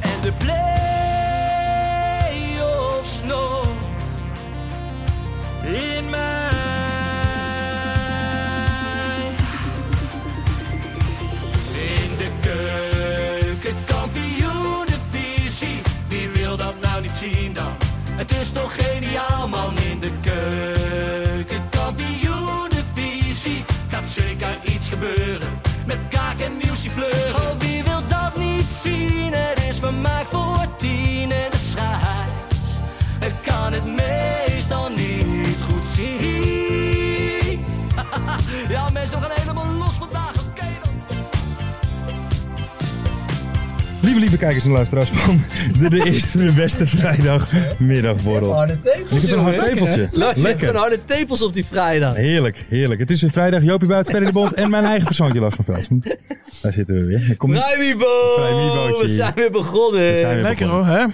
En de play-offs nog In mij. in de keuken, kampioenenvisie. Wie wil dat nou niet zien dan? Het is toch geniaal man in de keuken, kampioenenvisie. Gaat zeker iets gebeuren met kaak en muziek fleuren. Oh, wie wil dat niet zien? Het is vermaakt voor tien en de scheids. Ik kan het meestal niet goed zien. Ja, mensen, we gaan helemaal los vandaag. Oké dan. Lieve, lieve kijkers en luisteraars van de, de eerste de beste Oh, vrijdagmiddagborrel. Harde tepels, Ik heb een jongen. hard tepeltje. Lekker. Lekker. Lekker. Een harde tepels op die vrijdag. Heerlijk, heerlijk. Het is weer vrijdag, Joopie Buit, Ferry de Bond en mijn eigen persoontje Lars van Velsen. Daar zitten we weer. Kom niet. Vrijmibo! Vrijmibootje. We zijn weer begonnen. We zijn weer Lekker begonnen. hoor, hè?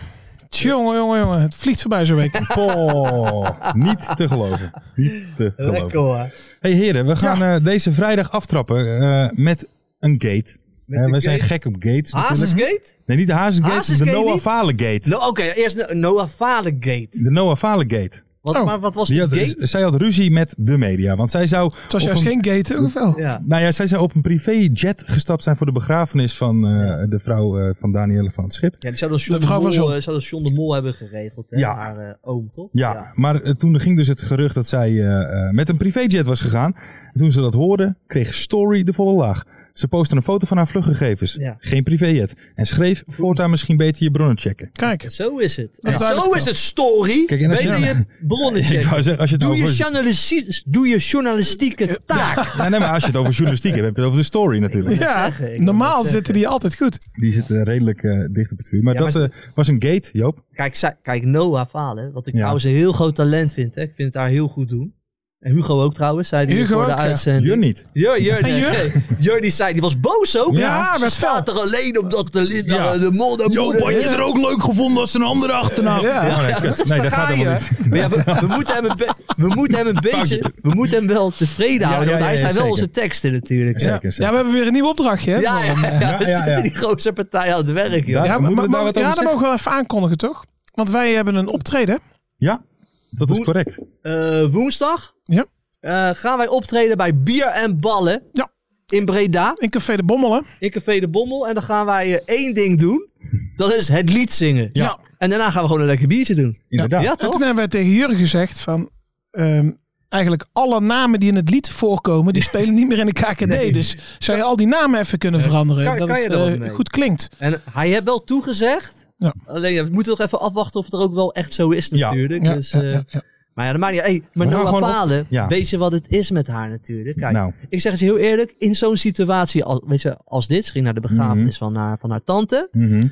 Jongen, jongen, jongen. Het vliegt voorbij zo'n week. Poh, niet te geloven. Niet te geloven. Lekker hoor. Hey heren, we gaan eh, deze vrijdag aftrappen eh, met een gate. Met Eh, een we zijn gate? gek op gates. natuurlijk. Hazesgate? Nee, niet de Hazesgate, de Hazesgate Noah niet? Falen Gate. No, Oké, eerst no- Noah Valengate. De Noah Falen Gate. Wat, Oh. Maar wat was die Die had, eh, gate? zij had ruzie met de media, want zij zou... Het was op juist een- geen gaten, of wel? Ja. Nou ja, zij zou op een privéjet gestapt zijn voor de begrafenis van eh, de vrouw eh, van Danielle van het Schip. ja, die zou dat John de, vrouw Mol, van John. eh, zou dat John de Mol hebben geregeld. Hè? Ja. Haar eh, oom, toch? Ja, maar eh, toen ging dus het gerucht dat zij eh, eh, met een privéjet was gegaan. En toen ze dat hoorden, kreeg Story de volle laag. Ze postte een foto van haar vluchtgegevens. Ja. Geen privéjet. En schreef, voortaan misschien beter je bronnen checken. Kijk. Zo is het. En duidelijk zo toch. is het story. Kijk, en als Weet je- je bronnen Ik checken. wou zeggen, als je het Doe over... je, journalistiek, doe je journalistieke taak. Nee, nee, maar als je het over journalistiek hebt, heb je het over de story natuurlijk. Ja, zeggen, ik wil normaal net zitten zeggen. die altijd goed. Die zit eh, redelijk eh, dicht op het vuur. Maar Ja, dat maar- eh, was een gate, Joop. Kijk, zij- kijk Noah Valen, wat ik Ja. trouwens een heel groot talent vind. Hè. Ik vind het haar heel goed doen. En Hugo ook trouwens, zei die Hugo voor de ook, ja. uitzending. Je niet. Jur, Jur, nee, Jur? nee. Jur die zei, die was boos ook. Ja, werd Ze fel. staat er alleen omdat de Linda Ja. eh, de mol de moeder- er ook leuk gevonden als een andere achternaam? Ja. Oh, nee, kut. nee, dat gaat ga je. helemaal niet. Maar ja, we, we moeten hem een be- we moeten hem een beetje, we moeten hem wel tevreden Ja, houden. ja, want hij ja, ja, zei wel zeker. onze teksten natuurlijk. Zeker, Ja, zeker. Ja, we hebben weer een nieuwe opdrachtje, hè? ja, ja, Ja, we ja, zitten ja. die grootste partij aan het werk, joh. Ja, Ja, moeten we maar, daar maar- wat ja over dat zeggen? mogen we even aankondigen, toch? Want wij hebben een optreden. Ja, dat is Hoe- correct. Eh, woensdag Ja. eh, gaan wij optreden bij Bier en Ballen Ja. in Breda. In Café de Bommelen. in Café de Bommel. En dan gaan wij eh, één ding doen. Dat is het lied zingen. Ja. En daarna gaan we gewoon een lekker biertje doen. Inderdaad. Ja, En toch? toen hebben we tegen Jurgen gezegd van... ehm, eigenlijk alle namen die in het lied voorkomen, die spelen niet meer in de KKD. Dus zou je al die namen even kunnen veranderen? kan- dat kan je het er wat eh, mee? goed klinkt. En hij heeft wel toegezegd. Ja. Alleen ja, we moeten nog even afwachten of het er ook wel echt zo is Ja. natuurlijk. Ja, dus, ja, eh, ja, ja. Maar ja, dat maakt niet hey, Maar We gaan Noah gewoon op- Falen, Ja. weet je wat het is met haar natuurlijk? Kijk, Nou. ik zeg het je heel eerlijk. In zo'n situatie als, weet je, als dit, ze ging naar de begrafenis Mhm. van, haar, van haar tante. Mhm.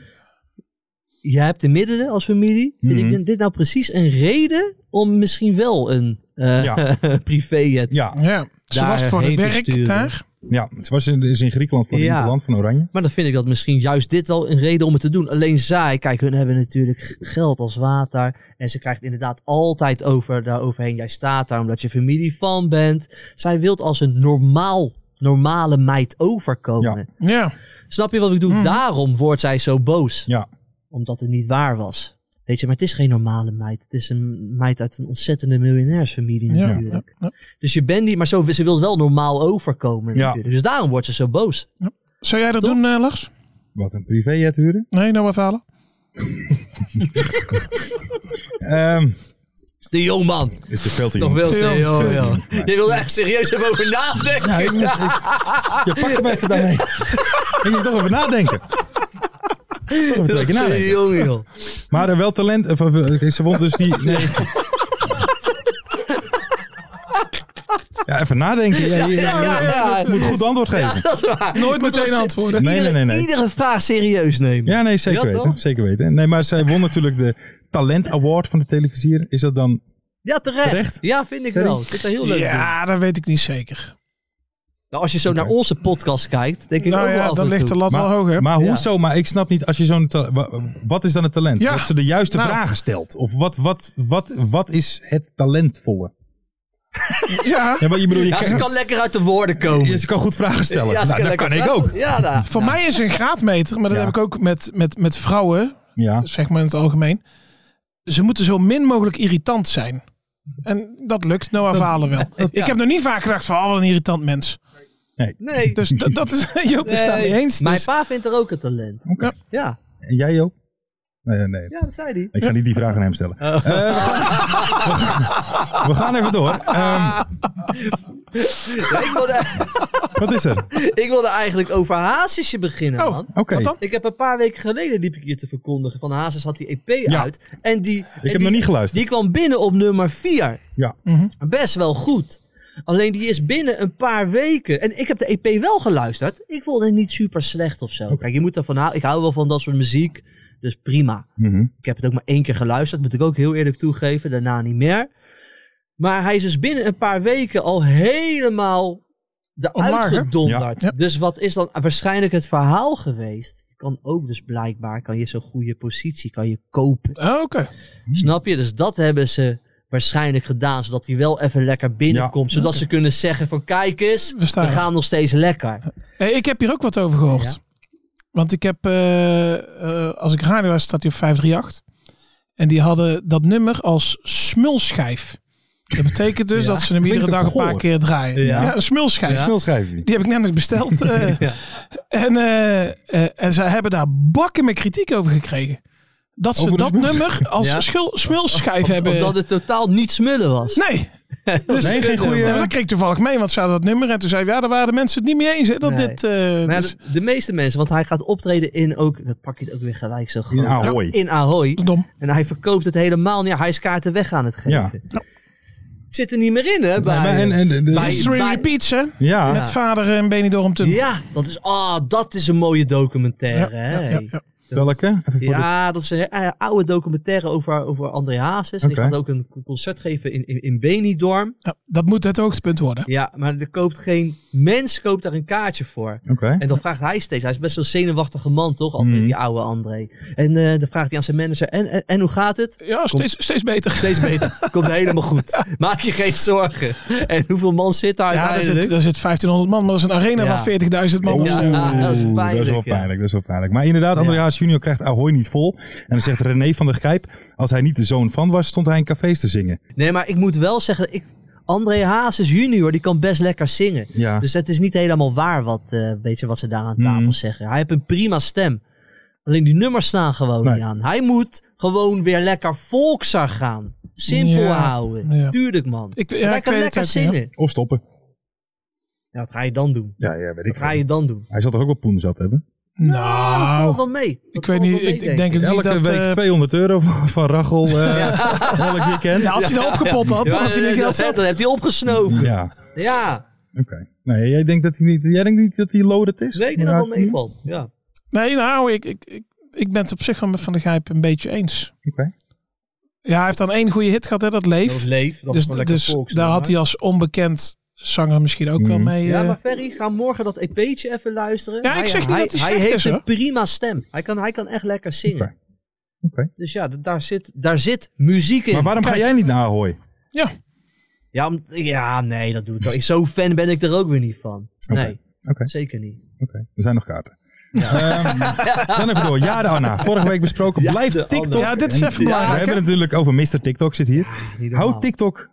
Je hebt de middelen als familie. Vind Mhm. ik dit nou precies een reden om misschien wel een eh Ja. privéjet ja, Ja, ze Daar was voor het heen te werk sturen. daar. ja, ze was in, is in Griekenland voor het Ja. interland van Oranje. Maar dan vind ik dat misschien juist dit wel een reden om het te doen. Alleen zij, kijk, hun hebben natuurlijk g- geld als water. En ze krijgt inderdaad altijd over, daaroverheen. Jij staat daar omdat je familie van bent. Zij wilt als een normaal, normale meid overkomen. Ja, Snap je wat ik bedoel? Mhm. Daarom wordt zij zo boos. Ja. Omdat het niet waar was. Weet je, maar het is geen normale meid. Het is een meid uit een ontzettende miljonairsfamilie ja, ja, natuurlijk. ja. Dus je bent niet, maar zo, ze wil wel normaal overkomen Ja. natuurlijk. Dus daarom wordt ze zo boos. Zou jij dat Toch? doen, eh, Lars? Wat, een privéjet huren? Nee, nou maar falen. Ehm, is de jongman. is te veel te Toch jong. wel, Theo, Theo. Theo. ja. Je wil er echt serieus even over nadenken. Ja, ik moest, ik- je pakt hem even daarmee. Ik moet toch even nadenken. Toch even twee keer nadenken. Jongen, joh. Maar er wel talent. of, of, eh, ze won dus die. Nee. Ja, even nadenken. Ja, je- Ja, ja, ja. je moet een goed antwoord geven. Dat is waar. Nooit meteen antwoorden. Nee, nee, nee, nee. Iedere vraag serieus nemen. Ja, nee, zeker Ja, toch? weten. Zeker weten. Nee, maar zij won natuurlijk de Talent Award van de televisier. Is dat dan... Ja, terecht. Terecht? Ja, vind ik Terecht? wel. Ik vind dat heel leuk. doen. Ja, dat weet ik niet zeker. Nou, als je zo naar onze podcast kijkt, denk ik Nou ook wel ja, af dan en ligt toe. de lat wel Maar, hoger. maar Ja. hoezo? Maar ik snap niet, als je zo'n... ta- wa- Wat is dan het talent? Ja. Dat ze de juiste Nou. vragen stelt? Of wat, wat, wat, wat is het talentvolle? Ja, Ja, maar je bedoelt, je Ja, ze kan, kan lekker uit de woorden komen. je- ze kan goed vragen stellen. Ja, ze nou, dat lekker kan ik praten. ook. Ja, nou, voor nou, mij is een graadmeter, maar dat Ja. heb ik ook met, met, met vrouwen, Ja. zeg maar in het algemeen. Ze moeten zo min mogelijk irritant zijn. En dat lukt Noah Valen wel. Ik heb nog niet vaak gedacht van, oh, wat een irritant mens. Nee, Dus dat, dat is, Joop is daar Nee. niet eens. Mijn Dus, pa vindt er ook een talent. Oké. Ja, En jij ook? Nee, eh, nee. ja dat zei hij. Ik ga niet die vraag aan hem stellen. Oh. Eh, we, gaan, we gaan even door. Ehm, Ja, ik, wilde, wat is er? Oké. ik wilde eigenlijk over Hazesje Oh. beginnen, man. Wat dan? Ik heb een paar weken geleden liep ik hier te verkondigen van Hazes had die EP Ja. uit. En die, ik heb nog niet geluisterd. Die kwam binnen op nummer 4. Ja. Best wel goed. Alleen die is binnen een paar weken. En ik heb de EP wel geluisterd. Ik vond het niet super slecht of zo. Kijk, je moet daarvan houden. Ik hou wel van dat soort muziek. Dus prima. Mhm. Ik heb het ook maar één keer geluisterd, moet ik ook heel eerlijk toegeven. Daarna niet meer. Maar hij is dus binnen een paar weken al helemaal Omlaag, hè? eruit gedonderd. Ja. Ja. Dus wat is dan waarschijnlijk het verhaal geweest? Je kan ook dus blijkbaar, kan je zo'n goede positie, kan je kopen. Oh, Oké. Snap je? Dus dat hebben ze waarschijnlijk gedaan, zodat hij wel even lekker binnenkomt. zodat ze kunnen zeggen van kijk eens, We we, staan er. gaan nog steeds lekker. Hey, ik heb hier ook wat over gehoord. Want ik heb, eh, eh, als ik radio luister, staat hij op 538. En die hadden dat nummer als smulschijf. Dat betekent dus Ja. dat ze hem iedere Klinkt dag ook een paar goor. keer draaien. Ja. Ja, een smulschijf. Snel schrijven. Die heb ik net nog besteld. eh. Ja. en, eh, eh, en zij hebben daar bakken met kritiek over gekregen. Dat ze Over de dat smulschijf. nummer als Ja. schul- smulschijf hebben. Omdat het totaal niet smullen was. Nee. Dus Nee, geen goede- Ja, maar dat kreeg ik toevallig mee, want ze hadden dat nummer. En toen zei we, ja, daar waren de mensen het niet mee eens. Hè, dat Nee. dit, eh, Maar ja, dus- de, de meeste mensen, want hij gaat optreden in ook, dat pak je het ook weer gelijk zo groot. In Ahoy. In Ahoy. dom. En hij verkoopt het helemaal niet. Hij is kaarten weg aan het Ja. geven. Het zit er niet meer in, hè? Bij, maar en- en de- de- bij- History bij- repeats, hè? Ja. Met vader en Benidorm toen. Ja, dat is, ah, dat is een mooie documentaire. hè? ja, ja. Welke? Even voor de... Ja, dat is een eh, oude documentaire over, over André Hazes. En Die Oké. gaat ook een concert geven in, in, in Benidorm. Ja, dat moet het hoogtepunt worden. Ja, maar er koopt geen mens koopt daar een kaartje voor. Oké. En dan vraagt hij steeds, hij is best wel een zenuwachtige man toch, Mm. altijd, die oude André. En eh, dan vraagt hij aan zijn manager, en, en, en hoe gaat het? Ja, steeds, steeds beter. Steeds beter, komt helemaal goed. Maak je geen zorgen. En hoeveel man zit daar Ja, daar zit, uiteindelijk? daar zit 1500 man, maar dat is een arena Ja. van 40.000 Ja. man. Dus, eh, Ah, dat is Oeh, pijnlijk, wel ja. pijnlijk, dat is wel pijnlijk. Maar inderdaad, Andreas junior krijgt Ahoy niet vol. En dan zegt René van der Gijp, als hij niet de zoon van was, stond hij in cafés te zingen. Nee, maar ik moet wel zeggen, ik, André Hazes junior, die kan best lekker zingen. Ja. Dus het is niet helemaal waar wat, eh, weet je, wat ze daar aan Hmm. tafel Mhm. zeggen. Hij heeft een prima stem. Alleen die nummers slaan gewoon Nee. niet aan. Hij moet gewoon weer lekker volksar gaan. Simpel Ja, houden. ja. Tuurlijk, man. Ik- ja, Want hij ik kan weet lekker het ook niet, zingen. hoor. Of stoppen. Ja, wat ga je dan doen? Ja, ja weet ik Wat ga veel. je dan doen? Hij zal toch ook wel poen zat hebben? Ah, dat valt nou, wel mee. Dat ik weet valt niet. wel mee, Ik, ik denk ook niet Elke dat... week eh, 200 euro van van Rachel eh, elk weekend. ja, als hij dat opgepot had, dan Ja, had hij niet eh, geld dat, zat. dat heeft hij opgesnoven. Ja. Ja, oké. Nee, jij denkt, dat hij niet, jij denkt niet dat hij loaded is? Nee, ik denk dat dat wel meevalt. Ja. Nee, nou, ik, ik, ik, ik ben het op zich van, van de Gijp een beetje eens. Oké. Ja, hij heeft dan één goede hit gehad, hè, dat Dat is Leef. leef. Dat is Dus, gewoon lekker dus volksnummer. daar had hij als onbekend zanger misschien ook wel Mhm. mee... Mm. Ja, eh, maar Ferry, ga morgen dat EP'tje even luisteren. Ja, ik zeg niet dat hij hij slecht heeft is, een hoor. prima stem. Hij kan, hij kan echt lekker zingen. Oké. Oké. Dus ja, d- daar zit, daar zit muziek in. Maar waarom ga Kijk. jij niet naar Ahoy? ja. ja, om- ja, nee, dat doe ik wel. Ik- Zo fan ben ik er ook weer niet van. Oké. Nee, Oké. zeker niet. Oké, er zijn nog kaarten. Ehm, dan even door. Ja, de Anna. Vorige week besproken. Ja, Blijf de TikTok. Anna. Ja, dit is En even We belangrijk, hè? hebben het natuurlijk over Mr. TikTok zit hier. Niet normaal. Houd TikTok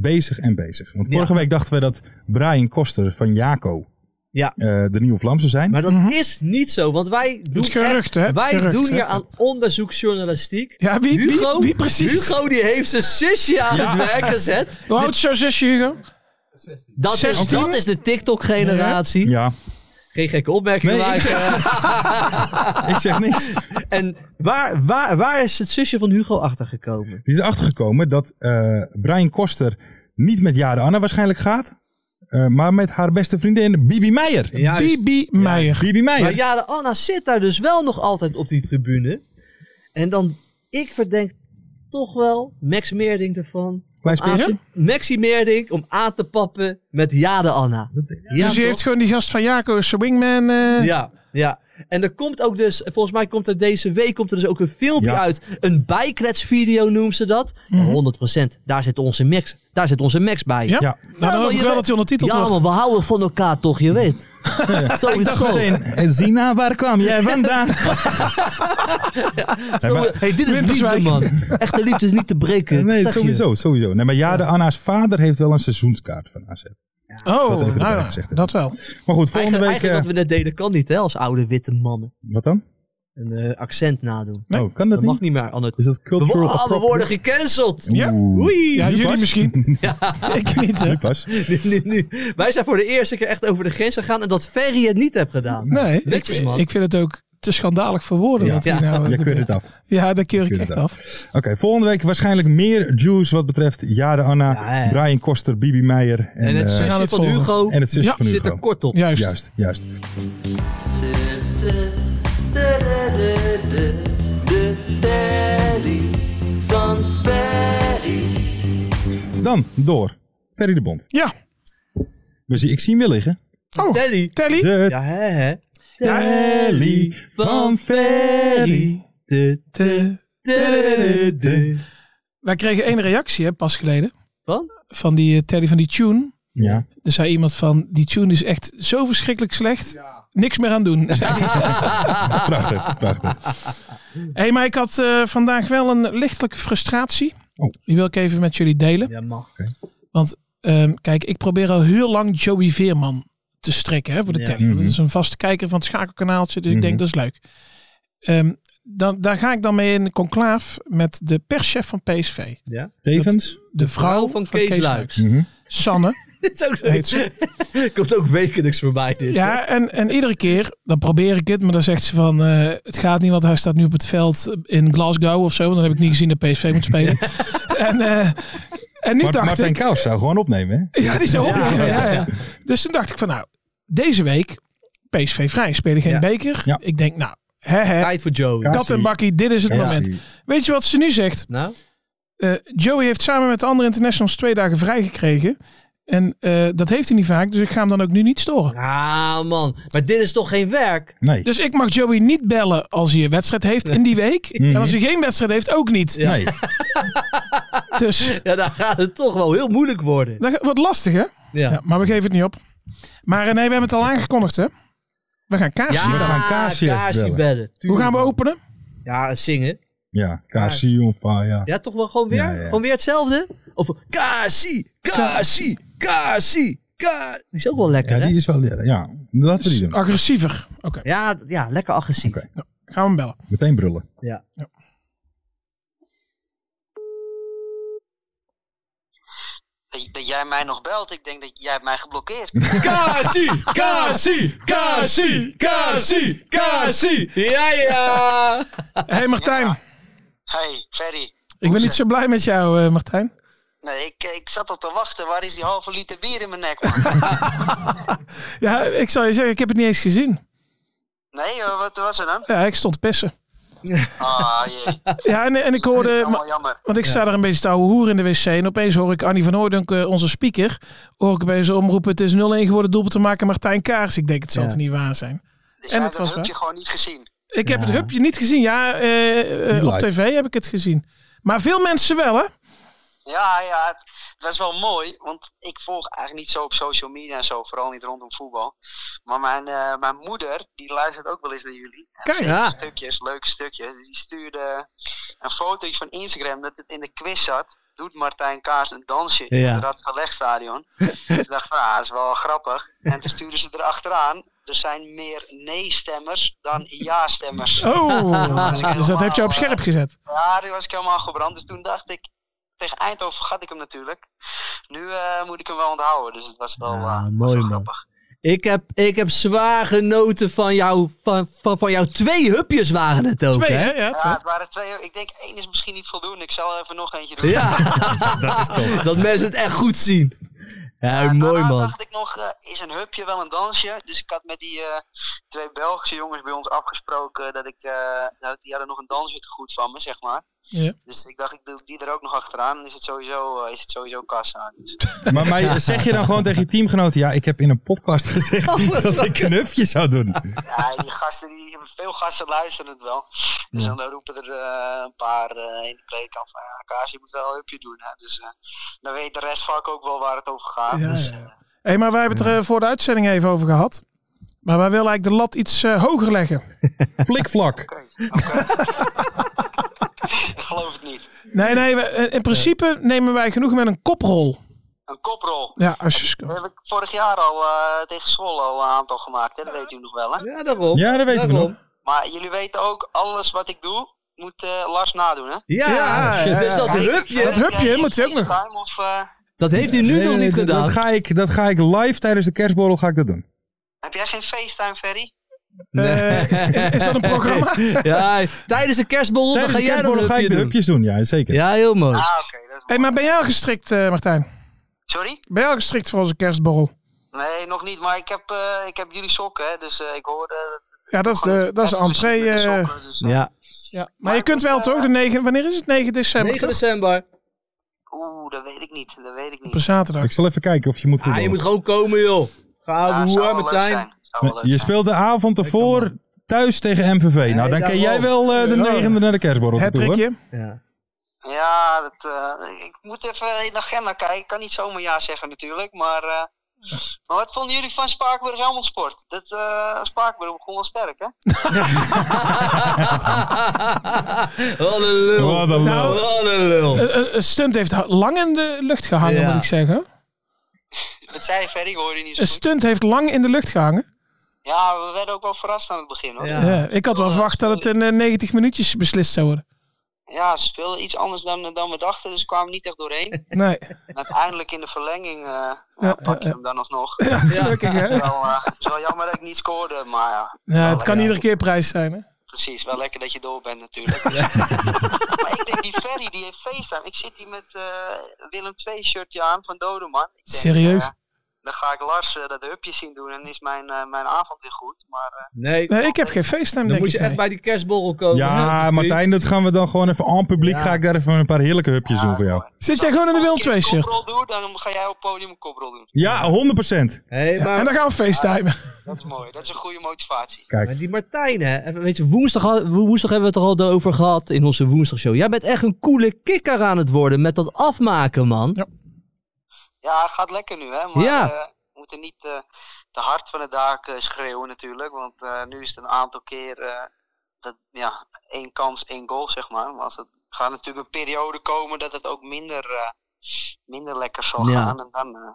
bezig en bezig. Want vorige week dachten we dat Brian Koster van Jaco Ja. eh, de Nieuwe Vlaamse zijn. Maar dat Mhm. is niet zo, want wij doen, is gerucht, echt- hè? Het is wij gerucht, doen hè? hier aan onderzoeksjournalistiek. Ja, wie, wie, Hugo, wie precies? Hugo die heeft zijn zusje aan het werk gezet. Hoe oud is jouw zusje, Hugo? Dat is, 16? dat is de TikTok-generatie. Ja, Geen gekke opmerkingen. Nee, ik maar- ik zeg niks. En waar, waar, waar is het zusje van Hugo achtergekomen? Die is achtergekomen dat eh, Brian Koster niet met Jade Anna waarschijnlijk gaat. eh, maar met haar beste vriendin Bibi Meijer. Bibi Meijer. Bibi Meijer. Maar ja, de Anna zit daar dus wel nog altijd op die tribune. En dan, ik verdenk toch wel Max Meerdink ervan. Klein Aan Ah, speertje. te, Maxi Meerdink om aan te pappen met Jade Anna. Ja, dus die toch? heeft gewoon die gast van Jaco, is zijn wingman. eh, Ja, ja. En er komt ook dus, volgens mij komt er deze week komt er dus ook een filmpje Ja. uit. Een bijkletsvideo noemt ze dat. En 100%, daar zit onze Max, daar zit onze Max bij. Ja? Ja. Nou, dan maar hoop je ik wel weet- dat hij ondertiteld Ja, wordt. maar we houden van elkaar toch, je weet. Oh. Sowieso. Meteen, eh, Zina, waar kwam jij vandaan? Nee, maar- Hey, dit is liefde, Winterswijk. man. Echte liefde is niet te breken. nee, zeg je. sowieso, sowieso. Nee, maar Jade Anna's vader heeft wel een seizoenskaart van AZ. Oh, Dat even erbij nou, gezegd hebben. dat wel. Maar goed, volgende Eigen- week... Eigenlijk eh, wat we net deden kan niet, hè, als oude witte mannen. Wat dan? Een eh, accent nadoen. Nee. Oh, kan dat, Dat niet? mag niet meer, Annette. Is dat We, wo- cultural ah, we worden appropriate? gecanceld. Ja. Oeh. Oei. Ja, Nu jullie pas. misschien. ik niet, hè. Nu pas. Nu, nu, nu. Wij zijn voor de eerste keer echt over de grens gegaan en dat Ferry het niet heeft gedaan. Nee, ik, Netjes, man. ik vind het ook te schandalig voor woorden. Ja. dat hij nou, Je keurt het af. ja, daar keur ik Keur het echt af. af. Oké, volgende week waarschijnlijk meer juice wat betreft Jade Anna, Ja, ja. Brian Koster, Bibi Meijer en, En het eh, zusje gaan het van volgen. Hugo en het zusje Ja. van Hugo. zit er kort op. Juist. Juist, juist. Dan door. Ferry de Bond. Ja. We zien, ik zie hem weer liggen. Oh, Telly. Telly. De Ja, hè, hè. telly van Ferry. De, de, de, de, de. Wij kregen één reactie hè, pas geleden. Van? Van die eh, Telly van die tune. Ja. Er zei iemand van, die tune is echt zo verschrikkelijk slecht. Niks meer aan doen. Ah. Prachtig, prachtig. hey, maar ik had eh, vandaag wel een lichtelijke frustratie. Oh. Die wil ik even met jullie delen. Ja, mag. Ehm, kijk, ik probeer al heel lang Joey Veerman te strikken hè, voor de Ja. telly. Dat is een vaste kijker van het schakelkanaaltje, dus ik denk dat is leuk. Ehm, dan, daar ga ik dan mee in conclaaf met de perschef van PSV. De, Ja. Tevens. vrouw van, Kees, Luiks. Mhm. Sanne. Dit is ook Heet zo. Komt ook wekelijks voorbij dit. hè? Ja, en, en iedere keer, dan probeer ik het, maar dan zegt ze van, eh, het gaat niet, want hij staat nu op het veld in Glasgow of zo. Want dan heb ik niet gezien dat PSV moet spelen. en, eh, en nu Mart- dacht Martijn ik... Kaus zou gewoon opnemen, hè? Ja, die zou opnemen. Ja, ja, Dus toen dacht ik van nou, deze week PSV vrij, spelen geen Ja. beker. Ja. Ik denk nou, hè, hè, Tijd voor Joe. Ja. kat en bakkie, dit is het Ja. moment. Weet je wat ze nu zegt? Nou? Eh, Joey heeft samen met de andere internationals twee dagen vrij gekregen. En eh, dat heeft hij niet vaak, dus ik ga hem dan ook nu niet storen. Ah, man. Maar dit is toch geen werk? Nee. Dus ik mag Joey niet bellen als hij een wedstrijd heeft in die week. En als hij geen wedstrijd heeft, ook niet. Ja. Nee. Dus Ja, dan gaat het toch wel heel moeilijk worden. dat wordt lastig, hè? Ja. Ja, maar we geven het niet op. Maar eh, nee, we hebben het al aangekondigd, hè? We gaan kaarsen. we gaan Kaasje bellen. Hoe gaan Tuurlijk, we openen? man. Ja, zingen. Ja, Kasi on fire. Ja, toch wel gewoon weer? Ja, ja. Gewoon weer hetzelfde? Of Kasi, Kasi, Kasi, Kasi. Die is ook wel lekker, Ja, hè? die is wel... Ja, ja, laten we die doen. Agressiever. Oké, Ja, ja, lekker agressief. Oké. gaan we hem bellen. Meteen brullen. Ja. Dat, dat jij mij nog belt, ik denk dat jij hebt mij geblokkeerd. Kasi, Kasi, Kasi, Kasi, Kasi. Ja, ja. hey Martijn, hey, Ferry. ik ben niet zo blij met jou, eh, Martijn. Nee, ik, ik zat al te wachten. Waar is die halve liter bier in mijn nek, man? Ja, ik zal je zeggen, ik heb het niet eens gezien. Nee, eh, wat was er dan? Ja, ik stond te pissen. Ah, jee. Ja, en, en ik hoorde... Allemaal jammer. Want ik sta daar een beetje te ouwe hoer in de wc. En opeens hoor ik Annie van Hooydonk, eh, onze speaker, hoor ik opeens omroepen. Het is 0-1 geworden, doelpunt te maken, Martijn Kaars. Ik denk, het zal Ja. toch niet waar zijn. Dus jij En het hebt was dat hupje gewoon niet gezien. Ik heb het hupje niet gezien. Ja, eh, eh, Live. op tv heb ik het gezien. Maar veel mensen wel, hè? Ja, ja, het, het was wel mooi, want ik volg eigenlijk niet zo op social media en zo, vooral niet rondom voetbal. Maar mijn, eh, mijn moeder, die luistert ook wel eens naar jullie. En Kijk. geeft Ja. Stukjes, leuke stukjes. Dus Die stuurde een foto van Instagram dat het in de quiz zat. doet Martijn Kaars een dansje Ja. in het Radverlegstadion. Toen dacht ik, van, ah, dat is wel grappig. En toen stuurden ze erachteraan, er zijn meer nee-stemmers dan ja-stemmers. Oh, dus dat heeft jou op scherp gezet. Ja, die was ik helemaal gebrand. Dus toen dacht ik, tegen Eindhoven gat ik hem natuurlijk. Nu eh, moet ik hem wel onthouden, dus het was wel, Ja, eh, was wel mooi, man. grappig. Ik heb, ik heb zwaar genoten van, jou, van, van, van jouw twee hupjes waren het ook, Twee, hè? hè? Ja, Ja, twee. het waren twee. Ik denk één is misschien niet voldoende. Ik zal er even nog eentje doen. Ja, dat is toch. Dat mensen het echt goed zien. Ja, nou, Maar mooi daarna man. dacht ik nog, eh, is een hupje wel een dansje? Dus ik had met die eh, twee Belgische jongens bij ons afgesproken dat ik, eh, nou, die hadden nog een dansje te goed van me, zeg maar. Ja. Dus ik dacht, ik doe die er ook nog achteraan. Dan is het sowieso, eh, is het sowieso kassa. Dus, Maar, maar zeg je dan gewoon tegen je teamgenoten, ja, ik heb in een podcast gezegd Oh, dat ik een hufje zou doen. ja, die gasten, die, veel gasten luisteren het wel. Dus Ja. dan roepen er eh, een paar eh, in de kleedkamer van, ja, Kaas, je moet wel een hupje doen. Hè? Dus eh, dan weet de rest vaak ook wel waar het over gaat. Ja, dus, ja. eh, Hé, maar wij hebben het er eh, voor de uitzending even over gehad. Maar wij willen eigenlijk de lat iets eh, hoger leggen. Flikvlak. Oké. oké. ik geloof het niet. Nee, nee, we- eh, in principe nemen wij genoeg met een koprol. Een koprol. Ja, als je Dat scoort. heb ik vorig jaar al eh, tegen Zwolle al een aantal gemaakt. Hè? Dat weet u nog wel, hè? Ja, daarom. Ja, dat weten we nog. Maar jullie weten ook, alles wat ik doe, moet eh, Lars nadoen, hè? Ja, Ja, ja, dus ja. dat hupje, Dat hupje Ja, moet hij ook nog. FaceTime Of, eh, dat heeft hij nu Nee, nog nee, niet dat- gedaan. Oh, Dat ga, ik, dat ga ik live tijdens de kerstborrel ga ik dat doen. heb jij geen FaceTime, Ferry? Eh, is, is dat een programma? Ja, tijdens de kerstborrel dan Tijdens ga de jij dat kerstborrel ga hupje ik de doen. hupjes doen, ja, zeker. Ja, heel mooi. Ah, oké. dat is Hé, mooi. maar ben jij al gestrikt, eh, Martijn? Sorry? Ben jij al gestrikt voor onze kerstborrel? Nee, nog niet. Maar ik heb, eh, ik heb jullie sokken, hè? Dus eh, ik hoorde... eh, Ja, dat is de, dat is de even entree. met de eh, sokken, dus, eh, Ja. ja. Maar je kunt wel toch? De 9, wanneer is het? 9 december? 9 toch? december. Oeh, dat weet ik niet. Dat weet ik Op een niet. zaterdag. Ik zal even kijken of je moet Ah, voetballen. je moet gewoon komen, joh. Ga Ja, ja, zou wel leuk eh, Martijn. zijn. Zou wel leuk Je zijn. speelt de avond ervoor thuis tegen MVV. Nou, dan ken daarom. jij wel eh, de Ja. negende naar de kerstborrel Het toe, hoor. trickje. Ja. Ja, dat, eh, ik moet even in de agenda kijken. Ik kan niet zomaar ja zeggen natuurlijk. Maar, eh, maar wat vonden jullie van Spakenburg Helmond Sport? Dat, eh Spakenburg begon wel sterk, hè? Wat een lul. Wat een Nou, lul. Wat een lul. Eh, eh, eh, Stunt heeft ha- lang in de lucht gehangen, Ja. moet ik zeggen. Wat zei je verder? Ik hoorde je niet zo Een goed. stunt heeft lang in de lucht gehangen. Ja, we werden ook wel verrast aan het begin, hoor. Ja. Ja, Ja. ik had wel verwacht dat het in eh, 90 minuutjes beslist zou worden. ze speelden iets anders dan, dan we dachten. Dus we kwamen niet echt doorheen. Nee, En uiteindelijk in de verlenging eh, ja, Ja, pak je ja, hem dan alsnog. gelukkig hè. Wel, eh, het is wel jammer dat ik niet scoorde. Maar ja, Ja, het kan ja. iedere keer prijs zijn hè. precies. Wel lekker dat je door bent natuurlijk. Maar ik denk, die Ferry die heeft FaceTime. Ik zit hier met eh, Willem 2 shirtje aan van Dodeman. Ik denk, Serieus? eh, dan ga ik Lars eh, dat hupje zien doen en is mijn, eh, mijn avond weer goed. Maar eh, Nee, Nee, ik heb geen FaceTime dan denk moet je ik. echt bij die kerstborrel Oh, komen. Ja, Hè, Martijn, dat gaan we dan gewoon even aan publiek. Ja. Ga ik daar even een paar heerlijke hupjes doen voor jou. Zit jij gewoon in de Willem 2 Als ik een shirt? koprol doe, dan ga jij op het podium een koprol doen. Ja, 100%. Hé, maar, En dan gaan we facetimen. Dat is mooi. Dat is een goede motivatie. maar die Martijn, hè. even- Weet je, woensdag, had- woensdag hebben we het er al over gehad in onze woensdagshow. Jij bent echt een coole kikker aan het worden met dat afmaken, man. Ja. Ja, gaat lekker nu, hè? Maar Ja. eh, we moeten niet eh, te hard van de daken eh, schreeuwen natuurlijk. Want eh, nu is het een aantal keer eh, dat, ja, één kans, één goal, zeg maar. Maar als het gaat natuurlijk een periode komen dat het ook minder, eh, minder lekker zal Ja. gaan. En dan eh,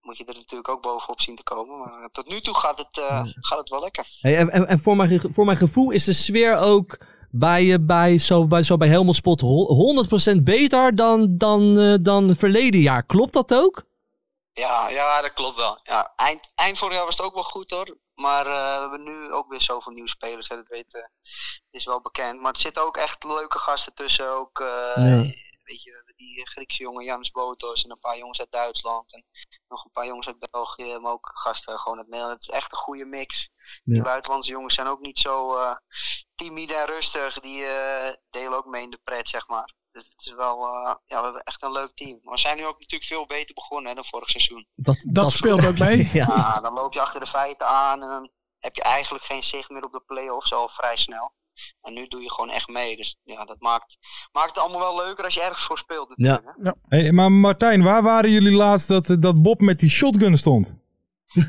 moet je er natuurlijk ook bovenop zien te komen. Maar eh, tot nu toe gaat het, eh, gaat het wel lekker. Hey, en en, en voor, mijn, ge- voor mijn gevoel is de sfeer ook bij, eh, bij, zo, bij, zo bij Helmond Spot hol- 100% beter dan, dan, eh, dan verleden jaar. Klopt dat ook? Ja, ja, dat klopt wel. Ja, eind, eind vorig jaar was het ook wel goed hoor. Maar eh, we hebben nu ook weer zoveel nieuwe spelers. Hè, dat weet, eh, is wel bekend. Maar er zitten ook echt leuke gasten tussen. Ook, eh, Ja. Weet je, die Griekse jongen Jans Botos en een paar jongens uit Duitsland. En nog een paar jongens uit België. Maar ook gasten gewoon uit Nederland. Het is echt een goede mix. Ja. Die buitenlandse jongens zijn ook niet zo eh, timide en rustig. Die eh, delen ook mee in de pret, zeg maar. Dus het is wel, eh, ja, we hebben echt een leuk team. Maar we zijn nu ook natuurlijk veel beter begonnen hè, dan vorig seizoen. Dat, Dat speelt ook mee. ja. Ja, dan loop je achter de feiten aan en dan heb je eigenlijk geen zicht meer op de play-offs al vrij snel. En nu doe je gewoon echt mee. Dus ja, dat maakt, maakt het allemaal wel leuker als je ergens voor speelt. natuurlijk, hè. Hey, maar Martijn, waar waren jullie laatst dat, dat Bob met die shotgun stond?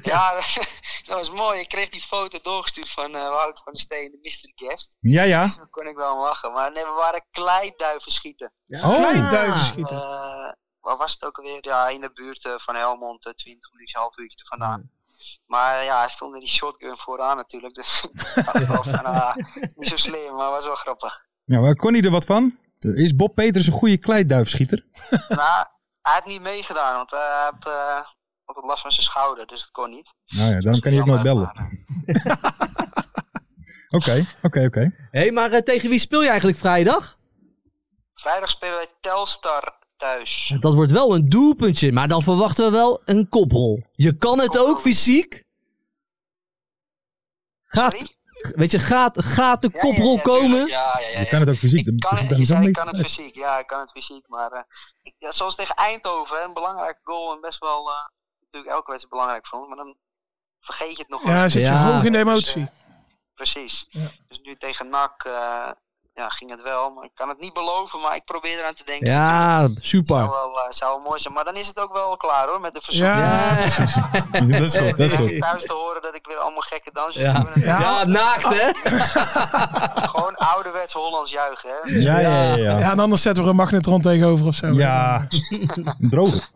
Ja, dat was mooi. Ik kreeg die foto doorgestuurd van eh Wout van der Steen, de Mr. Guest. Ja, ja. Dus daar kon ik wel om lachen. Maar nee, we waren kleiduiven schieten. Oh. Klein duiven schieten. Eh, waar was het ook alweer? Ja, in de buurt eh, van Helmond, eh, 20 minuutjes, half uurtje er vandaan. Maar eh, ja, hij stond in die shotgun vooraan natuurlijk. Dus dacht ik wel van, ah, niet zo slim, maar was wel grappig. Nou, maar kon hij er wat van? Is Bob Peters een goede kleiduifschieter? Nou, hij had niet meegedaan, want eh, hij had eh, altijd last van zijn schouder, dus dat kon niet. Nou ja, daarom kan hij ook nooit Jammer, bellen. maar, Oké, oké, oké. Hé, maar eh, tegen wie speel je eigenlijk vrijdag? Vrijdag spelen wij Telstar thuis. Dat wordt wel een doelpuntje, maar dan verwachten we wel een koprol. Je kan het ook fysiek. Gaat, Sorry? weet je, gaat, gaat de Ja, ja, ja, koprol tuurlijk. komen? Ja, ja, ja, Je ja. kan het ook fysiek. Ik kan, Dan- het- dan ik, zal zei, ik niks kan het uit. fysiek, ja, ik kan het fysiek. Maar eh, ik- ja, zoals tegen Eindhoven, hè, een belangrijke goal. En best wel, eh, natuurlijk elke wedstrijd belangrijk voor ons. Maar dan vergeet je het nog wel Ja, eens. zit je Ja. hoog in de Dus, emotie. eh, precies. Ja. Dus nu tegen NAC eh, ja, ging het wel. Maar ik kan het niet beloven, maar ik probeer eraan te denken. natuurlijk. Ja, Het zou super. wel, eh, zou wel mooi zijn. Maar dan is het ook wel klaar hoor, met de verzoek. Ja. Ja, Dat is goed, dat is Ik goed. krijg thuis te horen dat ik weer allemaal gekke dansjes Ja. doe. En Ja. ja naakt hè? Gewoon ouderwets Hollands juichen. Hè. Ja, ja, ja. Ja. Ja, en anders zetten we er een magnetron tegenover of zo. ja. droger.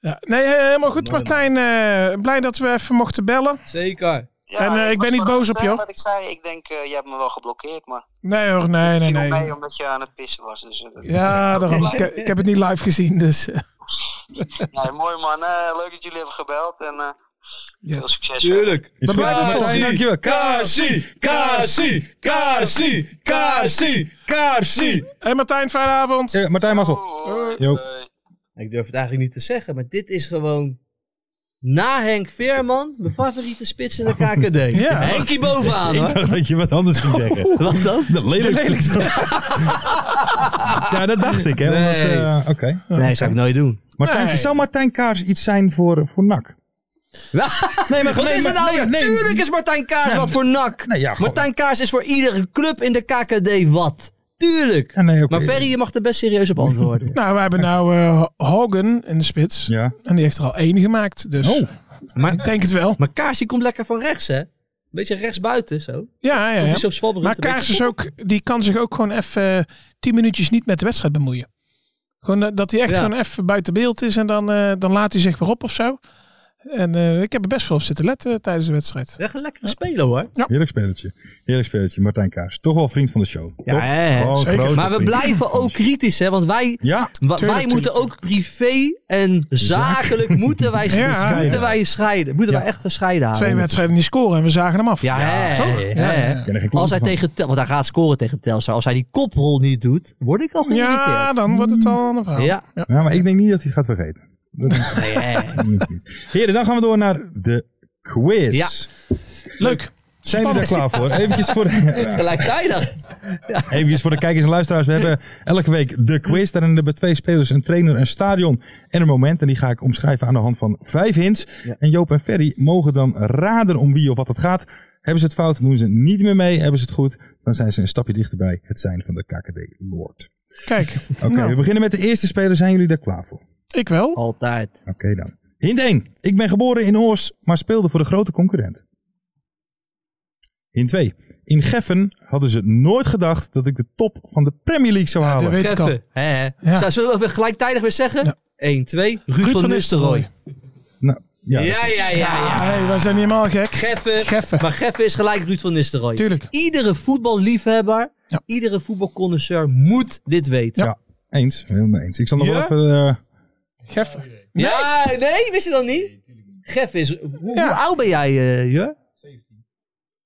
Ja. Nee, eh, helemaal goed Martijn. eh, blij dat we even mochten bellen. Zeker. Ja, En, eh, ik was ben niet verrast, boos op hè, je, hoor. Wat ik zei, ik denk, eh, je hebt me wel geblokkeerd, maar Nee hoor, nee, nee, viel nee. mee omdat je aan het pissen was. Dus, eh, dat- Ja, daarom. Ik, ik heb het niet live gezien, dus... eh, Nee, mooi man, Eh, leuk dat jullie hebben gebeld en eh, yes. veel succes. Tuurlijk. Is goed, Bye-bye. Martijn, dankjewel. Kaarsie, kaarsie, kaarsie, kaarsie, kaarsie. Hey Martijn, fijne avond. Eh, Martijn Massel. Hoi, Jo. hoi. Ik durf het eigenlijk niet te zeggen, maar dit is gewoon na Henk Veerman, mijn favoriete spits in de KKD. Ja. Henkie bovenaan Ik hoor. dacht dat je wat anders ging zeggen. Wat dan? De lelijkste. ja, dat dacht ik. Hè, omdat, Nee. eh, Oké. Nee, zou ik nooit doen. Martijntje, Nee. zou Martijn Kaars iets zijn voor, voor NAC? Wat Nee, maar nee, is maar- het nou? nee, nee. Tuurlijk is Martijn Kaars wat voor nak. Nee, ja, gewoon- Martijn Kaars is voor iedere club in de KKD wat. Tuurlijk. Ja, nee, oké. Maar Ferry, je mag er best serieus op antwoorden. Nou, we hebben nou eh, Hogan in de spits. Ja. En die heeft er al één gemaakt, dus ik Maar, denk het wel. maar Kaars die komt lekker van rechts, hè? Een beetje rechtsbuiten, zo. Ja, ja, Die ja. is zo zwabberend. Maar een beetje- Kaars is ook, die kan zich ook gewoon even eh, tien minuutjes niet met de wedstrijd bemoeien. Gewoon eh, dat hij echt Ja. gewoon even buiten beeld is en dan, eh, dan laat hij zich weer op of zo. En eh, ik heb er best veel op zitten letten tijdens de wedstrijd. Echt een lekkere speler, hoor. Heerlijk spelertje. Heerlijk spelertje, Martijn Kaars. Toch wel vriend van de show. toch? hè, hè. Gewoon zeker. grote Maar we vriend. blijven ook kritisch, hè? Want wij, Ja, wa- wij tuurlijk, moeten ook privé en zakelijk moeten wij, Ja. moeten wij scheiden. Moeten wij echt gescheiden houden. Twee wedstrijden niet scoren en we zagen hem af. Ja, hè, toch? hè. Ja, ja. ik ken Als er geen hij klote van. tegen Tel- want hij gaat scoren tegen Telstar. Als hij die koprol niet doet, word ik al geïrriteerd. Ja, dan wordt het al een verhaal. Ja. Ja, maar ik denk niet dat hij het gaat vergeten. Dat denk ik niet. Heren, dan gaan we door naar de quiz. Ja. Leuk. Zijn we daar klaar voor? Eventjes voor, de, Gelijktijdig. eventjes voor de kijkers en luisteraars. We hebben elke week de quiz. Daarin hebben we twee spelers, een trainer, een stadion en een moment. En die ga ik omschrijven aan de hand van vijf hints. En Joop en Ferry mogen dan raden om wie of wat het gaat. Hebben ze het fout, doen ze niet meer mee. Hebben ze het goed, dan zijn ze een stapje dichterbij het zijn van de KKD Lord. Kijk, Oké, Nou. we beginnen met de eerste speler. Zijn jullie daar klaar voor? ik wel. Altijd. Oké dan. Hint 1. Ik ben geboren in Oors, maar speelde voor de grote concurrent. Hint 2. In Geffen hadden ze nooit gedacht dat ik de top van de Premier League zou dat halen. weet ik al. Geffen. Hè, hè. Ja. Zou- Zullen we even gelijktijdig weer zeggen? Ja. 1, 2. Ruud, van Nistelrooy. Ah. Nou, ja. Ja, ja, ja, ja. Hey, wij zijn niet helemaal gek. Geffen. Geffen. Maar Geffen is gelijk Ruud van Nistelrooy. Tuurlijk. Iedere voetballiefhebber, Ja. iedere voetbalconnoisseur moet dit weten. Ja. Eens, helemaal eens. Ik zal nog Ja? wel even... eh, Geffen. Ja, nee, wist je dat niet? Geffen is... Hoe, hoe Ja. oud ben jij, eh Jur? 17.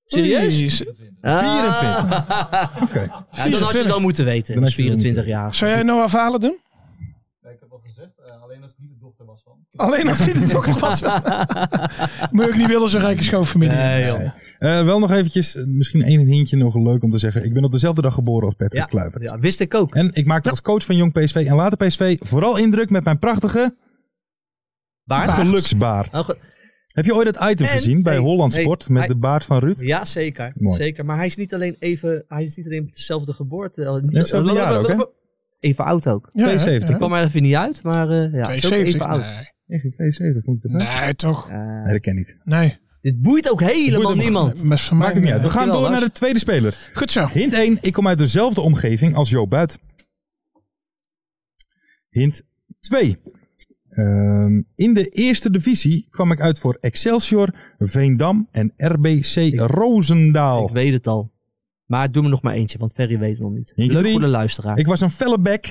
Serieus? Ah. Jezus. 24. Oké. Ja, dan had je het 24. wel moeten weten. Dan Dat had is je het wel 24 jaar. Zou jij Noah Valen doen? Ik heb al gezegd, alleen als het niet de dochter was van. Alleen als het niet de dochter was van. Moet je ook niet willen zo'n rijke schoonfamilie. Nee, joh. Eh, wel nog eventjes, eh, misschien één hintje nog leuk om te zeggen. Ik ben op dezelfde dag geboren als Patrick Ja, Kluivert. ja, wist ik ook. En ik maakte als coach van Jong PSV en later PSV vooral indruk met mijn prachtige Baard. geluksbaard. Oh, ge- Heb je ooit dat item En- gezien bij hey, Holland hey, Sport met hij- de baard van Ruud? Ja, zeker. Mooi. Zeker. Maar hij is niet alleen even... Hij is niet alleen op dezelfde geboorte. eh, Niet Hetzelfde jaar ook, hè? Even oud ook. Ja, hè? 72. Ja. Ik kwam er even niet uit, maar eh ja, is ook 72. even oud. Nee. 1972 komt het erbij. Nee, toch? Nee, dat ken ik niet. Nee. Dit boeit ook helemaal hem- niemand. Best van Maakt het niet uit. We Dankjewel, gaan door Lars. naar de tweede speler. Goed zo. Hint 1. Ik kom uit dezelfde omgeving als Jo Buit. Hint 2. Ehm, in de eerste divisie kwam ik uit voor Excelsior, Veendam en RBC Roosendaal. Ik weet het al. Maar doe me nog maar eentje, want Ferry weet het nog niet. Eentje Leuk drie. voor de luisteraar. Ik was een felle back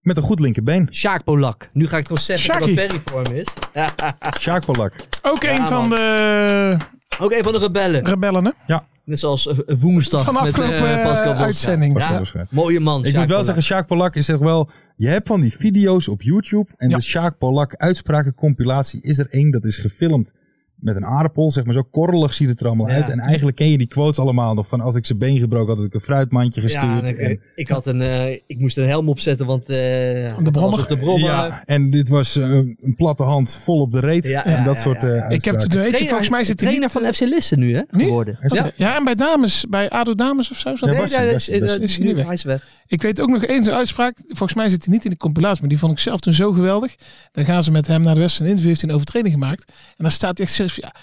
met een goed linkerbeen. Sjaak Polak. Nu ga ik gewoon zeggen dat Sjakie. Ferry voor hem is. Sjaak Polak. Ook Ja, een van man. de Ook een van de rebellen. rebellen, hè? Net zoals eh, woensdag Van met eh, afgelopen eh, Pascal Bosgaard. uitzending. Pascal Ja, Bosgaard. mooie man. Ik moet wel zeggen, Sjaak Polak is echt wel... Je hebt van die video's op YouTube. En Ja. de Sjaak Polak uitsprakencompilatie is er één. Dat is gefilmd met een aardappel. Zeg maar zo korrelig ziet het er allemaal Ja. uit. En eigenlijk ken je die quotes allemaal nog. Van als ik zijn been gebroken had, had ik een fruitmandje gestuurd. ja, en ik, en, ik, had een, eh, ik moest een helm opzetten, want eh de brommer. op de brommer. ja, en dit was eh, een platte hand vol op de reet. Ja, en ja, dat ja, soort ja. eh, Ik heb uitspraken. het, weet je, volgens mij zit hij trainer van niet- FC Lisse nu, hè? Nu? Geworden. Hij is Ja. toch- Ja, en bij dames, bij ADO dames of zo. Zat Ja, hij. was hij, dat was hij, eh, was hij. Is hij nu weg? Hij is weg. Ik weet ook nog eens een uitspraak. Volgens mij zit hij niet in de compilatie, maar die vond ik zelf toen zo geweldig. Dan gaan ze met hem naar de wedstrijd. Een interview heeft hij een overtreding gemaakt. En dan staat hij echt serieus van, ja,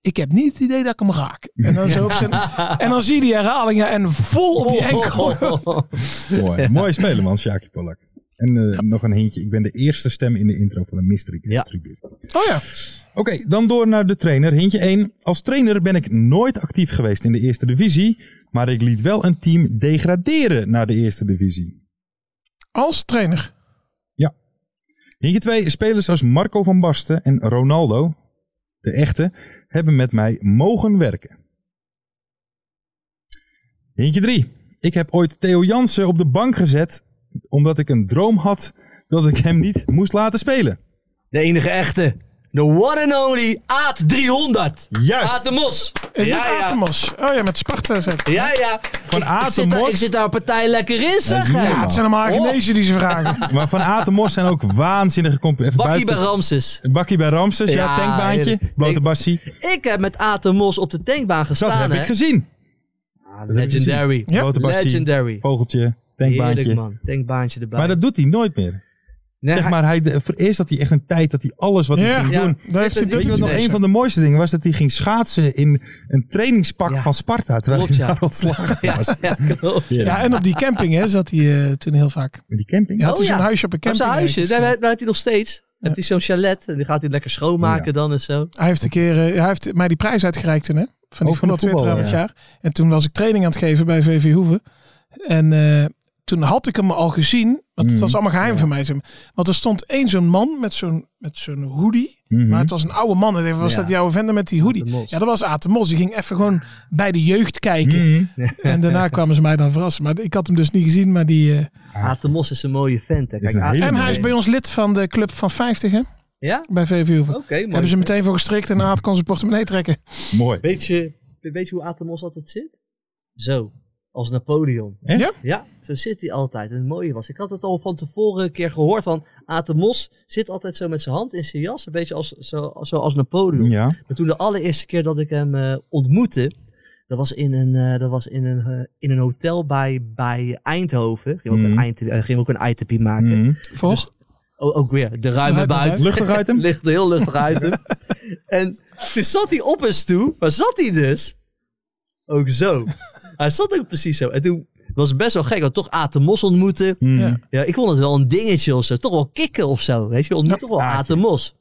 ik heb niet het idee dat ik hem raak. En dan, zo op zijn, en dan zie je die herhaling ja, en vol op die Oh, enkel. Oh, Mooi, mooi spelen man, Sjaakje Polak. En eh, nog een hintje. Ik ben de eerste stem in de intro van de Mystery Guest Ja. Tribune. Oh ja, Oké, dan door naar de trainer. Hintje 1. Als trainer ben ik nooit actief geweest in de eerste divisie. Maar ik liet wel een team degraderen naar de eerste divisie. als trainer. Hintje 2. Spelers als Marco van Basten en Ronaldo, de echte, hebben met mij mogen werken. Hintje 3. Ik heb ooit Theo Jansen op de bank gezet. Omdat ik een droom had dat ik hem niet moest laten spelen. De enige echte. The one and only Aad 300. Juist. Aad de Mos. Is ja, het ja. Atemos? Oh ja, met Sparta zeker. Ja, ja. Van Ik- Aad ik de zit daar- Mos. Ik zit daar partij lekker in, zeg. niet hè. normaal. Ja, het zijn allemaal Oh. Agenezen die ze vragen. Maar Van Aad en Mos zijn ook waanzinnige complimenten. Bakkie bij Ramses. Een bakkie bij Ramses, ja, Ja, tankbaantje. heerlijk. Blote Ik- Bassie. Ik heb met Aad de Mos op de tankbaan Dat gestaan, heb hè. ik gezien. heb ik Legendary. Ja. Blote Bassie, Legendary. vogeltje, Heerlijk, tankbaantje. man. Tankbaantje erbij. Maar dat doet hij nooit meer. Nee, Zeg hij- maar, hij, de- voor eerst had hij echt een tijd dat hij alles wat hij Ja, ging Ja. doen... daar heeft hij Weet je Weet je wat doet nog hij een niks. van de mooiste dingen was? Dat hij ging schaatsen in een trainingspak Ja. van Sparta. Terwijl Klopt, hij ja. daar ontslagen was. Ja, klopt. Ja, en op die camping hè, zat hij eh, toen heel vaak. In die camping. Hij had hij Oh ja. zo'n huisje op een Op camping. zijn huisje, ergens. daar, daar heeft hij nog steeds. Heeft hij zo'n chalet en die gaat hij lekker schoonmaken Ja. dan en zo. Hij heeft, een keer, eh, hij heeft mij die prijs uitgereikt toen, hè? Van Oh, die van de voetbaltwitter aan voetbal, het jaar. En toen was ik training aan het geven bij VV Hoeven. En eh, toen had ik hem al gezien, want het Mm. Mhm. was allemaal geheim voor mij. zeg maar. Want er stond één zo'n man met zo'n, met zo'n hoodie. Mhm. Maar het was een oude man. En ik dacht, was Ja. dat die oude vender met die hoodie? Aad de Mos. Ja, dat was Aad de Mos. Die ging even gewoon bij de jeugd kijken. Mm. Mhm. En daarna kwamen ze mij dan verrassen. Maar ik had hem dus niet gezien. Maar die, eh, Aad de Mos is een mooie vent. Hè. Ah. is een Aad- hele En hij is Nee. bij ons lid van de Club van 50, hè? Ja? Bij VV Hoeven. Oké, Oh, mooi. Hebben ze meteen voor gestrikt en Aad kon zijn portemonnee trekken. Mooi. Weet je, weet je hoe Aad de Mos altijd zit? Zo, als Napoleon. Echt? Ja? Ja, zo zit hij altijd. En het mooie was, ik had het al van tevoren een keer gehoord van Aad de Mos zit altijd zo met zijn hand in zijn jas. Een beetje als, zo, zo als Napoleon. Ja. Maar toen de allereerste keer dat ik hem eh, ontmoette, dat was in een, eh, dat was in een, eh, in een hotel bij, bij Eindhoven. Ging ook, Mhm. een, eind, eh, gingen we ook een ITP maken. Mhm. Voor? O- ook weer, de ruime Ruime buit. buit. Luchtig item? Ligt heel luchtig uit hem. en toen zat hij op een stoel. Waar zat hij dus? Ook zo. Hij zat ook precies zo. En toen was het best wel gek. Want toch Aad de Mos ontmoeten. Mhm. Ja. Ja, ik vond het wel een dingetje of zo. Toch wel kikken of zo. Weet je, je, ontmoet Ja, toch wel Aad de Mos.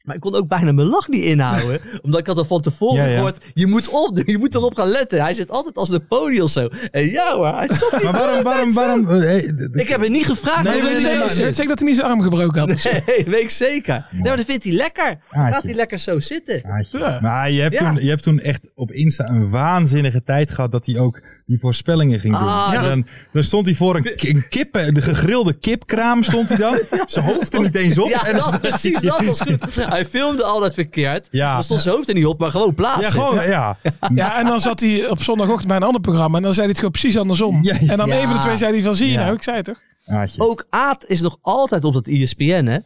Maar ik kon ook bijna mijn lach niet inhouden. omdat ik had al van tevoren Ja, ja. gehoord. Je moet, op, je moet erop gaan letten. Hij zit altijd als Napoleon zo. En ja hoor, hij zat hier Maar waarom, waarom, altijd Oh, zo. waarom... eh, eh, d- d- Ik heb het niet gevraagd. Nee, maar dat Nee, weet je is zeker, zo weet je zit. zeker dat hij niet zijn arm gebroken had? Dus- of zo? Nee, weet ik zeker. Nee, maar dat vindt hij lekker. Gaat Aadje. hij lekker zo zitten. Haatje. Ja. Maar je hebt, Ja. toen, je hebt toen echt op Insta een waanzinnige tijd gehad dat hij ook die voorspellingen ging doen. Ah, En ja. dan, dan stond hij voor een, ki- een kip, de gegrilde kipkraam stond hij dan. Zijn hoofd er niet eens op. Ja, en dan- dat, precies, dat was goed. Hij filmde altijd verkeerd. Ja. Dan stond zijn hoofd er niet op, maar gewoon plaatsen. ja, gewoon, ja. Ja, en dan zat hij op zondagochtend bij een ander programma. En dan zei hij het gewoon precies andersom. Ja, ja. En dan Ja. even de twee zei hij van, zie je Ja. nou, ik zei het toch? Haatje. Ook Aad is nog altijd op dat E ESPN, hè?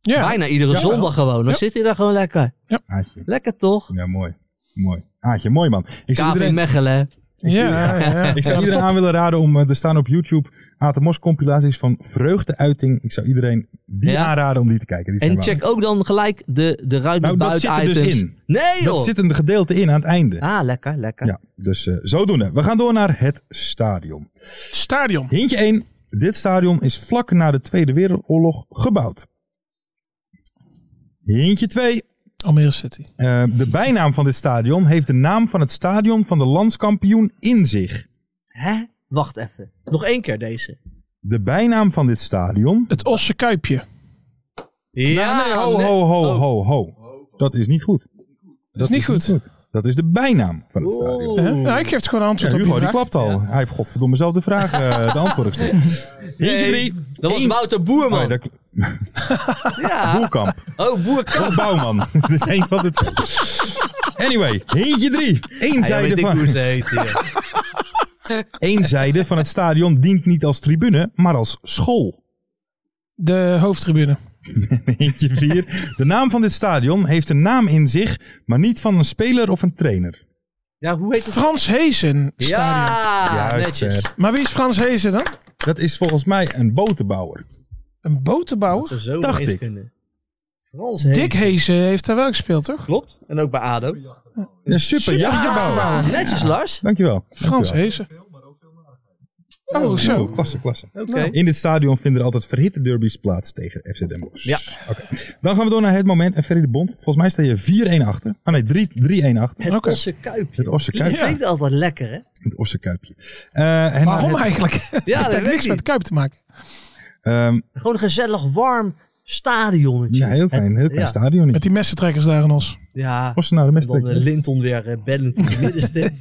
Ja, Bijna iedere Jawel. zondag gewoon. Dan Ja. zit hij daar gewoon lekker. Haatje. Lekker toch? Ja, mooi. Mooi. Haatje, mooi man. Ik zou KV iedereen, Mechelen. Ja, ja. Ik zou iedereen aan willen raden om, eh, er staan op YouTube Atemos compilaties van Vreugdeuiting. Ik zou iedereen die Ja. aanraden om die te kijken. Die zijn En check ook dan gelijk de, de ruit Nou, met dat buiten zit er dus items. in. Nee waanzinnig. joh! Dat zit een gedeelte in aan het einde. Ah, lekker, lekker. Ja, dus eh, zodoende. We gaan door naar het stadion. Stadion. Hintje 1. Dit stadion is vlak na de Tweede Wereldoorlog gebouwd. Hintje 2. Almere City. de bijnaam van dit stadion heeft de naam van het stadion van de landskampioen in zich. Hè? Wacht even. Nog één keer deze. De bijnaam van dit stadion. Het Osse Kuipje. Ja, nee, ho, ho, ho, ho, ho. Dat is niet goed. Dat is niet goed. Dat is de bijnaam van het stadion. Hè? Nou, ik geef het gewoon een Ja, antwoord op Hugo, die die vraag. klapt al. Hij heeft godverdomme zelf de vraag eh de antwoord gesteld. Hintje 3. Dat was Wouter Boerman. ja. Boelkamp. Oh, Boerkamp. Of Bouwman. Het is één van de twee. Anyway, hintje drie. Eén Ja, zijde, weet ik hoe van, ze heet. ja. één zijde van het stadion dient niet als tribune, maar als school. De hoofdtribune. Hintje vier. De naam van dit stadion heeft een naam in zich, maar niet van een speler of een trainer. Ja, hoe heet het? Frans Hezen Stadion. Ja, Juist, eh, netjes. Fer. Maar wie is Frans Hezen dan? Dat is volgens mij een botenbouwer. Een botenbouwer. Ze zo Dacht eens ik. kunnen. Frans Dick Hezen heeft daar wel gespeeld, toch? Klopt. En ook bij ADO. Een super jachtenbouwer. Netjes, Lars. Dankjewel. Frans Dankjewel. Hezen. Oh, zo. Oh, klasse, klasse. Oké. In dit stadion vinden er altijd verhitte derbies plaats tegen FC Den Bosch. Ja. Oké. Dan gaan we door naar het moment. En Ferry de Bond, volgens mij sta je 4-1 achter. Ah nee, 3- 3-1 achter. Het Oké. Osse Kuipje. Het Osse Kuipje. Dat klinkt altijd lekker, hè? Het Ossenkuipje. Eh, en Waarom naar het- eigenlijk? Het Ja, dat heeft weet niks ik met niet. Kuip te maken. ehm, Gewoon een gezellig, warm stadionnetje. ja, heel klein, heel klein ja. stadionnetje. Met die messentrekkers daar in ons. Ja. Ossenaar de En dan eh, Linton weer eh, bellend in de middenste.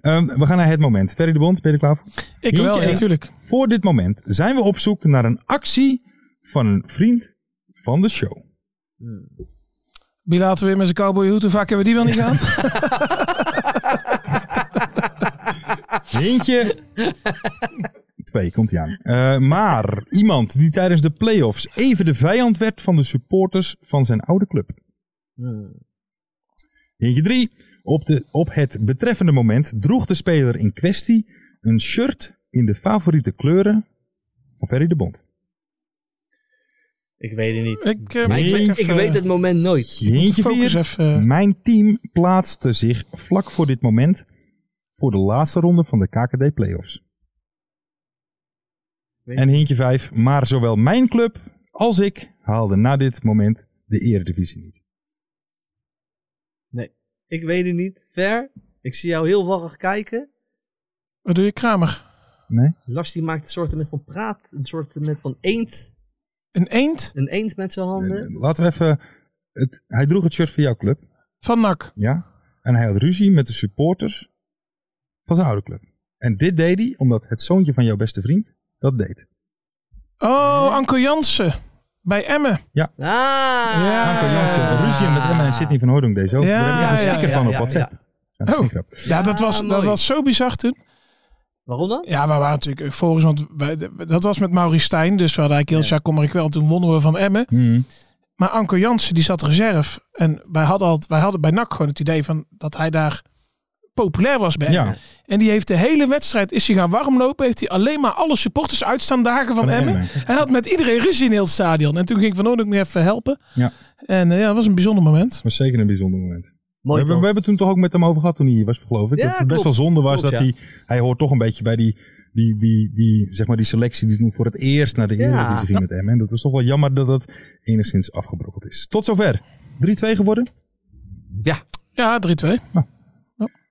Ehm, we gaan naar het moment. Ferry de Bond, ben je er klaar voor? Ik wel, Eentje. ja, natuurlijk. Voor dit moment zijn we op zoek naar een actie van een vriend van de show. Wie laten weer met zijn cowboyhoed? Hoe vaak hebben we die wel niet gehad? Eentje. Twee, komt hij aan. Eh, maar iemand die tijdens de play-offs even de vijand werd van de supporters van zijn oude club. Eentje drie. Op, de, op het betreffende moment droeg de speler in kwestie een shirt in de favoriete kleuren van Ferry de Bond. Ik weet het niet. Ik, eh, Maar ik, moet weet- ik even- weet het moment nooit. de Eentje focus vier. even. eh, Mijn team plaatste zich vlak voor dit moment voor de laatste ronde van de KKD Playoffs. En hintje 5, maar zowel mijn club als ik haalden na dit moment de eredivisie niet. Ik weet het niet. Ver, ik zie jou heel warrig kijken. Wat doe je, Kramer? Nee? Lars die maakt een soort met van praat, een soort met van eend. Een eend Een eend met zijn handen. Eh, Laten we even... Het, hij droeg het shirt van jouw club, van NAC. ja? En hij had ruzie met de supporters van zijn oude club. En dit deed hij omdat het zoontje van jouw beste vriend dat deed. Oh, Anko Jansen. Bij Emmen. Ah! Ja. Anko Jansen, ruzie met Emma en Sidney van Hooydonk deze ook. Ah. Ja, Daar heb ik een ja, sticker ja, van op ja, WhatsApp. Ja, dat is Oh. geen grap. Ja, dat was, Ah, dat mooi. was zo bizar toen. Waarom dan? Ja, we waren natuurlijk euforisch, want wij, dat was met Maurice Stijn. Dus we hadden eigenlijk heel Jacques kom ik wel. Toen wonnen we van Emmen. Hmm. Maar Anko Jansen, die zat reserve. En wij hadden, al, wij hadden bij NAC gewoon het idee van dat hij daar populair was bij Emmen. Ja, En die heeft de hele wedstrijd, is hij gaan warmlopen. Heeft hij alleen maar alle supporters uitstaan dagen van, Van Emmen. Emmen. Hij had met iedereen ruzie in heel het stadion. En toen ging Van Oordonk me even helpen. Ja. En eh, ja, dat was een bijzonder moment. was zeker een bijzonder moment. We Mooi hebben, we toch? hebben toen toch ook met hem over gehad toen hij hier was, geloof ik. Ja, dat het best klopt. wel zonde was Klopt, dat hij... Hij hoort toch een beetje bij die, die, die, die, zeg maar die selectie die toen voor het eerst naar de Ja. Eredivisie ging met hem. En dat is toch wel jammer dat dat enigszins afgebrokkeld is. Tot zover. 3-2 geworden. Ja, 3-2.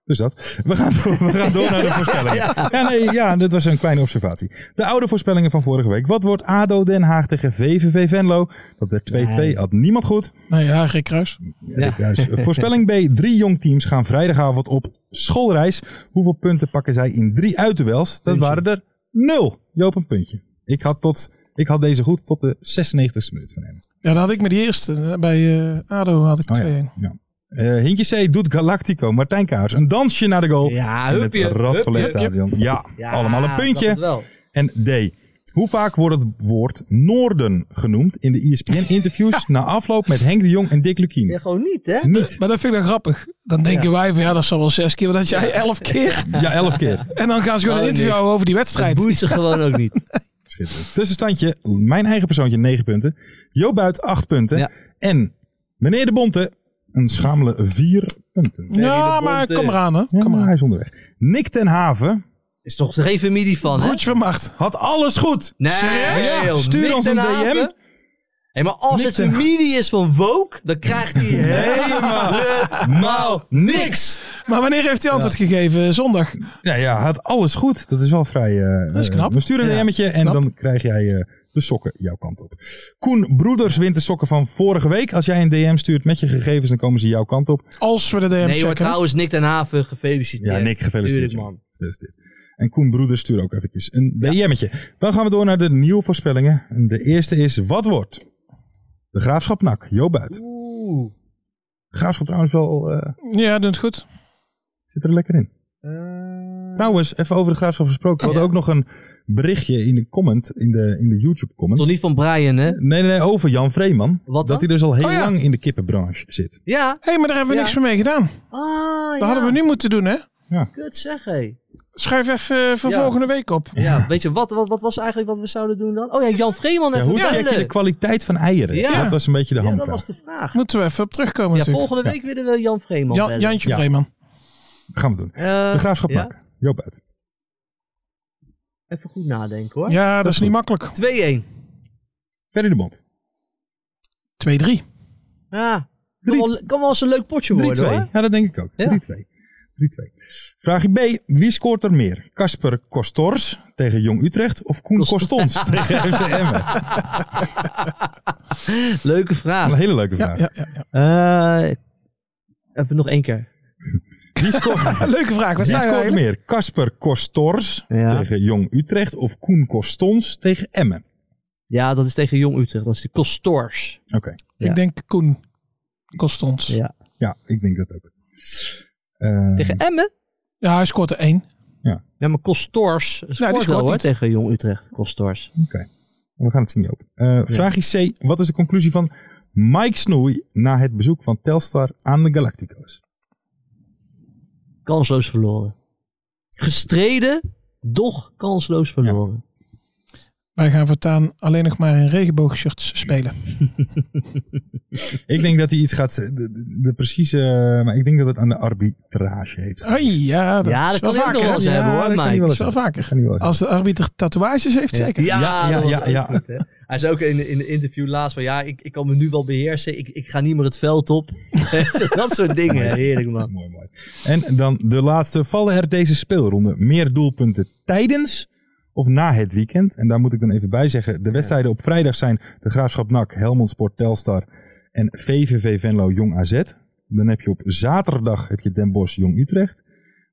Dus dat. We gaan, door- we gaan door naar de voorspellingen. Ja, nee, ja, dat was een kleine observatie. De oude voorspellingen van vorige week. Wat wordt ADO Den Haag tegen VVV Venlo? Dat werd 2-2. Had niemand goed. Nee, ja, Rick Kruis. Ja. Rick Ruijs. Voorspelling B. Drie jong teams gaan vrijdagavond op schoolreis. Hoeveel punten pakken zij in drie uitduels? Dat waren er nul. Joop, een puntje. Ik had, tot, ik had deze goed tot de 96e minuut van hem. Ja, dat had ik met die eerste. Bij eh, ADO had ik 2-1. Ja. Eh, Hintje C. doet Galactico. Martijn Kaars. Een dansje naar de goal. Ja, in het huppie, huppie, Radverleefd huppie. stadion. Ja, Ja, allemaal een ik dacht het puntje. wel. En D. Hoe vaak wordt het woord Noorden genoemd in de E ESPN-interviews na afloop met Henk de Jong en Dick Lukien? Ja, gewoon niet, hè? Niet. Maar dat vind ik dan grappig. Dan denken wij van ja, dat zal wel zes keer, maar dat jij elf keer. Ja, elf keer. En dan gaan ze gewoon Oh, een interview niks. houden over die wedstrijd. Het boeit ze gewoon ook niet. Schitterend. Tussenstandje, mijn eigen persoontje 9 punten. Jo Buit 8 punten. Ja. En meneer De Bonte een schamele 4 punten. Ja, maar kom eraan hè. Ja, Kom hij eraan. is onderweg. Nick ten Haven Is toch geen familie van, hè? Goedje van macht. had alles goed. Nee, Ja, joh, stuur Nick ons ten een Haven. DM. Hé, maar als Nick het ten Haven. familie is van Woke, dan krijgt hij helemaal niks. Maar wanneer heeft hij antwoord gegeven? Zondag. Ja, ja, hij had alles goed. Dat is wel vrij... eh, Dat is eh, knap. we sturen een Ja, DM'tje en knap. dan krijg jij eh, de sokken jouw kant op. Koen Broeders wint de sokken van vorige week. Als jij een DM stuurt met je gegevens, dan komen ze jouw kant op. Als we de DM Nee, hoor, checken. trouwens, Nick ten Haven, gefeliciteerd. Ja, Nick, gefeliciteerd. Tuurlijk, man. Gefeliciteerd. En Koen Broeder stuur ook eventjes een DM'tje. Dan gaan we door naar de nieuwe voorspellingen. En De eerste is, wat wordt? De Graafschap NAC, Jo Buit. Oeh. Graafschap trouwens wel, eh, Ja, doet het goed. zit er lekker in. Trouwens, even over de Graafschap gesproken. We hadden Eh, Ja. ook nog een berichtje in de comment, in de, in de YouTube comments. Toch niet van Brian, hè? Nee, nee, nee, over Jan Vreeman. Wat dat dan? hij dus al heel Oh ja. lang in de kippenbranche zit. Ja. Hé, maar daar hebben we Ja. niks meer mee gedaan. Ah, Dat hadden we nu moeten doen, hè? Kut zeg, hé. Schrijf even eh, voor Ja. volgende week op. Ja, weet je, wat, wat, wat was eigenlijk wat we zouden doen dan? Oh ja, Jan Vreeman Ja, even hoe check je bellen. de kwaliteit van eieren? Ja. Dat was een beetje de ja, dat hamvraag. was de vraag. Moeten we even op terugkomen. Ja, natuurlijk. volgende week willen we Jan Vreeman Jan- bellen. Jantje Ja. Vreeman. Gaan we doen. Eh, De Graafschap ja? NAC, Jo Buit. Even goed nadenken, hoor. Ja, dat is niet goed. makkelijk. 2-1. Ferry de Bond. 2-3. Ja. Kan Drie- wel, kan wel eens een leuk potje 3-2. worden, hoor. Ja, dat denk ik ook. Ja. 3-2. 3-2. Vraagje B. Wie scoort er meer? Casper Kostors tegen Jong Utrecht of Koen Kost- Kostons tegen FC Emmen? Leuke Een vraag. hele leuke Ja, vraag. ja, ja, ja. Eh, even nog één keer. Wie scoort, Leuke vraag. Wat wie zijn we scoort eigenlijk? meer? Casper Kostors Ja. tegen Jong Utrecht of Koen Kostons tegen Emmen? Ja, dat is tegen Jong Utrecht. Dat is de Costors. Oké. Ja. Ik denk Koen kost ons. Ja. Ja. Ja, ik denk dat ook. Eh, Tegen Emmen? hij scoort er één. Ja, maar Costors scoort scoort wel, hoor, niet. tegen Jong Utrecht. Costors. we gaan het zien, Joop. Eh vraagje C. Wat is de conclusie van Mike Snoei na het bezoek van Telstar aan de Galactico's? Kansloos verloren. Gestreden, doch kansloos verloren. Wij gaan voortaan alleen nog maar in regenboogshirts spelen. Ik denk dat hij iets gaat. De, de, de precieze. Maar ik denk dat het aan de arbitrage heeft. Ai, ja, dat, Ja, is dat wel kan ik nog vaker. wel hè? eens hebben, hoor, dat kan Mike. hij wel eens Dat is hebben. Ik ga niet wel eens- Als de arbiter tatoeages heeft, zeker. Ja, ja, dat was ja, ook ja. goed, hè. Hij zei ook in in een interview laatst van... ja, ik, ik kan me nu wel beheersen. Ik, ik ga niet meer het veld op. dat soort dingen. Heerlijk, man. Mooi, mooi. En dan de laatste. Vallen er deze speelronde meer doelpunten tijdens of na het weekend? En daar moet ik dan even bij zeggen. De wedstrijden op vrijdag zijn de Graafschap NAC, Helmond Sport Telstar en VVV Venlo Jong AZ. Dan heb je op zaterdag heb je Den Bosch Jong Utrecht.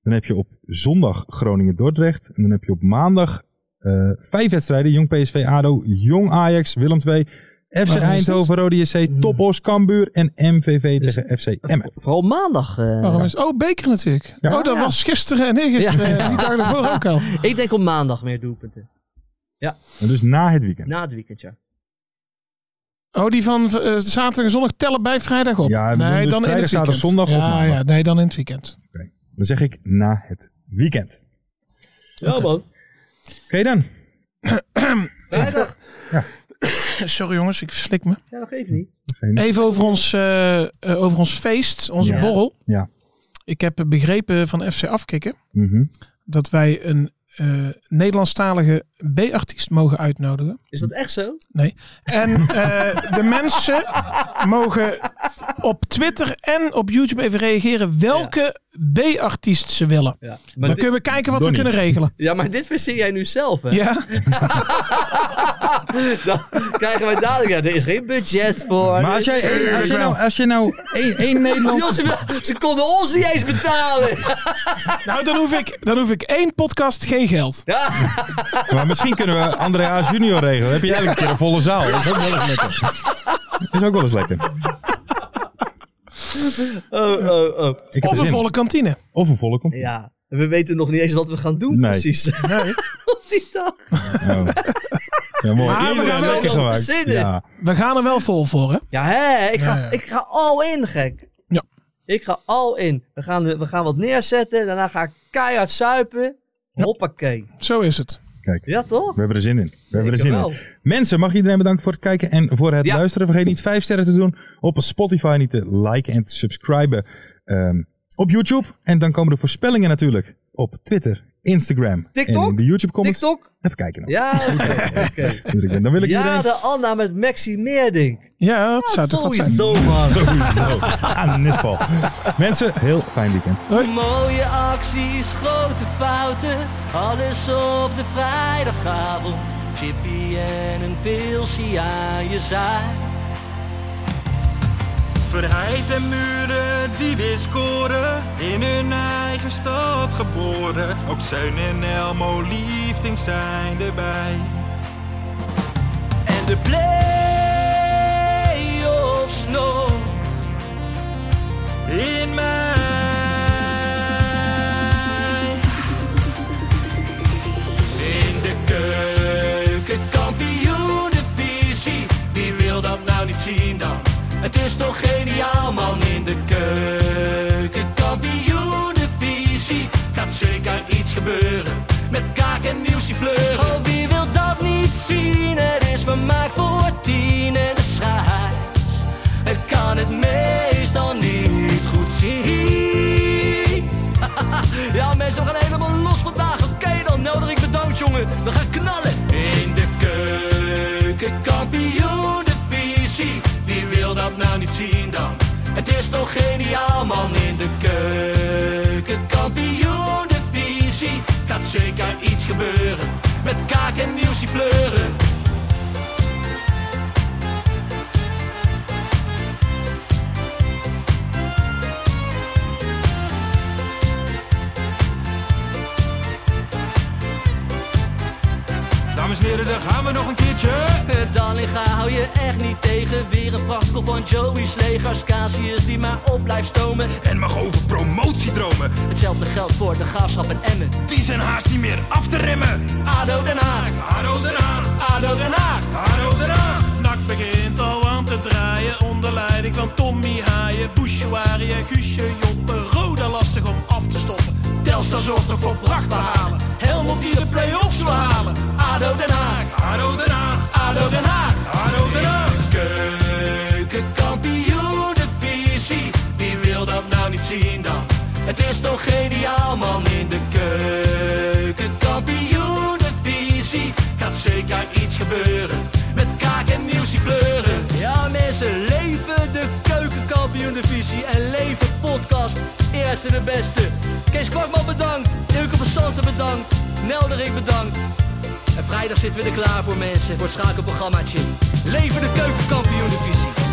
Dan heb je op zondag Groningen Dordrecht. En dan heb je op maandag eh, vijf wedstrijden. Jong PSV ADO, Jong Ajax, Willem II... FC het? Eindhoven, Rode JC, Topos, Cambuur en MVV tegen FC Emmen. Vooral maandag. eh, Waarom is... Oh, Beker natuurlijk. Ja. Oh, dat was gisteren en eergisteren. Ja. Die dag ervoor ook al. ik denk op maandag meer doelpunten. En Dus na het weekend. Na het weekend, ja. Oh, die van eh, zaterdag en zondag tellen bij vrijdag op. Ja, we doen dus in vrijdag, zaterdag, het weekend. zondag of ja, maandag. ja, nee, dan in het weekend. Dan zeg ik na het weekend. Ja, man. Oké dan. Vrijdag. Sorry jongens, ik verslik me. Ja, dat geeft niet. Geen- Even over ons, eh, eh, over ons feest, onze Ja. borrel. Ja. Ik heb begrepen van FC Afkikken Mhm. dat wij een eh, Nederlandstalige B-artiest mogen uitnodigen. Is dat echt zo? En eh, de mensen mogen op Twitter en op YouTube even reageren welke B-artiest ze willen. Ja. Dan Maar, dit, kunnen we kijken wat Donnie. we kunnen regelen. ja, maar dit verzin jij nu zelf, hè? Ja, Dan krijgen wij dadelijk... Ja, er is geen budget voor. Maar als, jij, als, je nou, als je nou één, één Joh, Nederlands... ze, ze konden ons niet eens betalen. nou dan hoef, ik, dan hoef ik één podcast, geen geld. Ja. Maar misschien kunnen we André Haas junior regelen. Dan heb je elke keer een volle zaal. Dat is ook wel eens lekker. Is ook wel eens lekker. Oh, oh, oh. Ik heb er Of zin een in. volle kantine. Of een volle komt. Ja. We weten nog niet eens wat we gaan doen Nee. precies. Op die dag. Oh. Ja, mooi. Maar we Iedereen gaan wel lekker nog gemaakt. verzinnen. Ja. We gaan er wel vol voor, hè? Ja, hè? Ik ga, Ja, ja. Ik ga al in, gek. Ja. Ik ga al in. We gaan, de- we gaan wat neerzetten. Daarna ga ik keihard suipen. Hoppakee. Zo is het. Kijk, Ja, toch? we hebben er zin in. We hebben er Ik zin wel. in. Mensen, mag iedereen bedanken voor het kijken en voor het Ja. luisteren. Vergeet niet vijf sterren te doen op Spotify. Niet te liken en te subscriben ehm, op YouTube. En dan komen de voorspellingen natuurlijk op Twitter, Instagram TikTok? en in de YouTube comments. TikTok? Even kijken. Dan. Ja, oké. oké. Natuurlijk, en Dan wil ik Ja, iedereen de Anna met Maxi Meerdink. Ja, dat Ja, zou toch wat zijn. sowieso, man. sowieso aan het val. Mensen, heel fijn weekend. Mooie acties, grote fouten, alles op de vrijdagavond. Chippy en een pilsie aan je zaai. Verheid en muren die weer scoren, in hun eigen stad geboren. Ook Zijn en Elmo Liefding zijn erbij. En de play-offs nog. in mij. In de keuken, kampioen Wie wil dat nou niet zien dan? Het is toch geniaal man in de keuken, kampioen Gaat zeker iets gebeuren met kaak en nieuwsie fleuren. Oh, wie wil dat niet zien? Het is vermaakt voor tien en de scheids. Het kan het meestal niet goed zien. Ja, mensen, we gaan helemaal los vandaag. Oké, dan nodig ik bedankt, jongen. We gaan knallen. In de keuken, kampioen, de visie. Wie wil dat nou niet zien dan? Het is toch geniaal, man. In de keuken, kampioen, de visie. Gaat zeker iets gebeuren. Met kaak en nieuwsie fleuren. Dames en heren, daar gaan we nog een keertje. Eh, Dallinga hou je echt niet tegen. Weer een prachtkel van Joey's legers. Casius die maar op blijft stomen. En mag over promotiedromen, Hetzelfde geldt voor de graafschap en Emmen. die zijn haast niet meer af te remmen. ADO Den Haag. Haro eraan, ADO Den Haag. haro eraan. Nak begint al aan te draaien onder leiding van Tommy Haaien, Bouchouari en Guusje Joppen. Roda lastig om af te stoppen. Telstar zorgt nog voor pracht te halen. Helmond die de play-offs wil halen. ADO Den Haag. Haro eraan, ADO Den Haag. haro eraan. Keukenkampioenenvisie. Wie wil dat nou niet zien dan? Het is toch geniaal man in de keukenkampioenenvisie. Gaat zeker iets gebeuren. Met kaak en nieuwsie fleuren. Ja mensen, leven de keukenkampioenenvisie. En leven podcast. Eerste de beste. Kees Kwakman bedankt. Ilke van Santen bedankt. Nelderik bedankt. En vrijdag zitten we er klaar voor mensen, voor het schakelprogrammaatje. Leven de keukenkampioen divisie.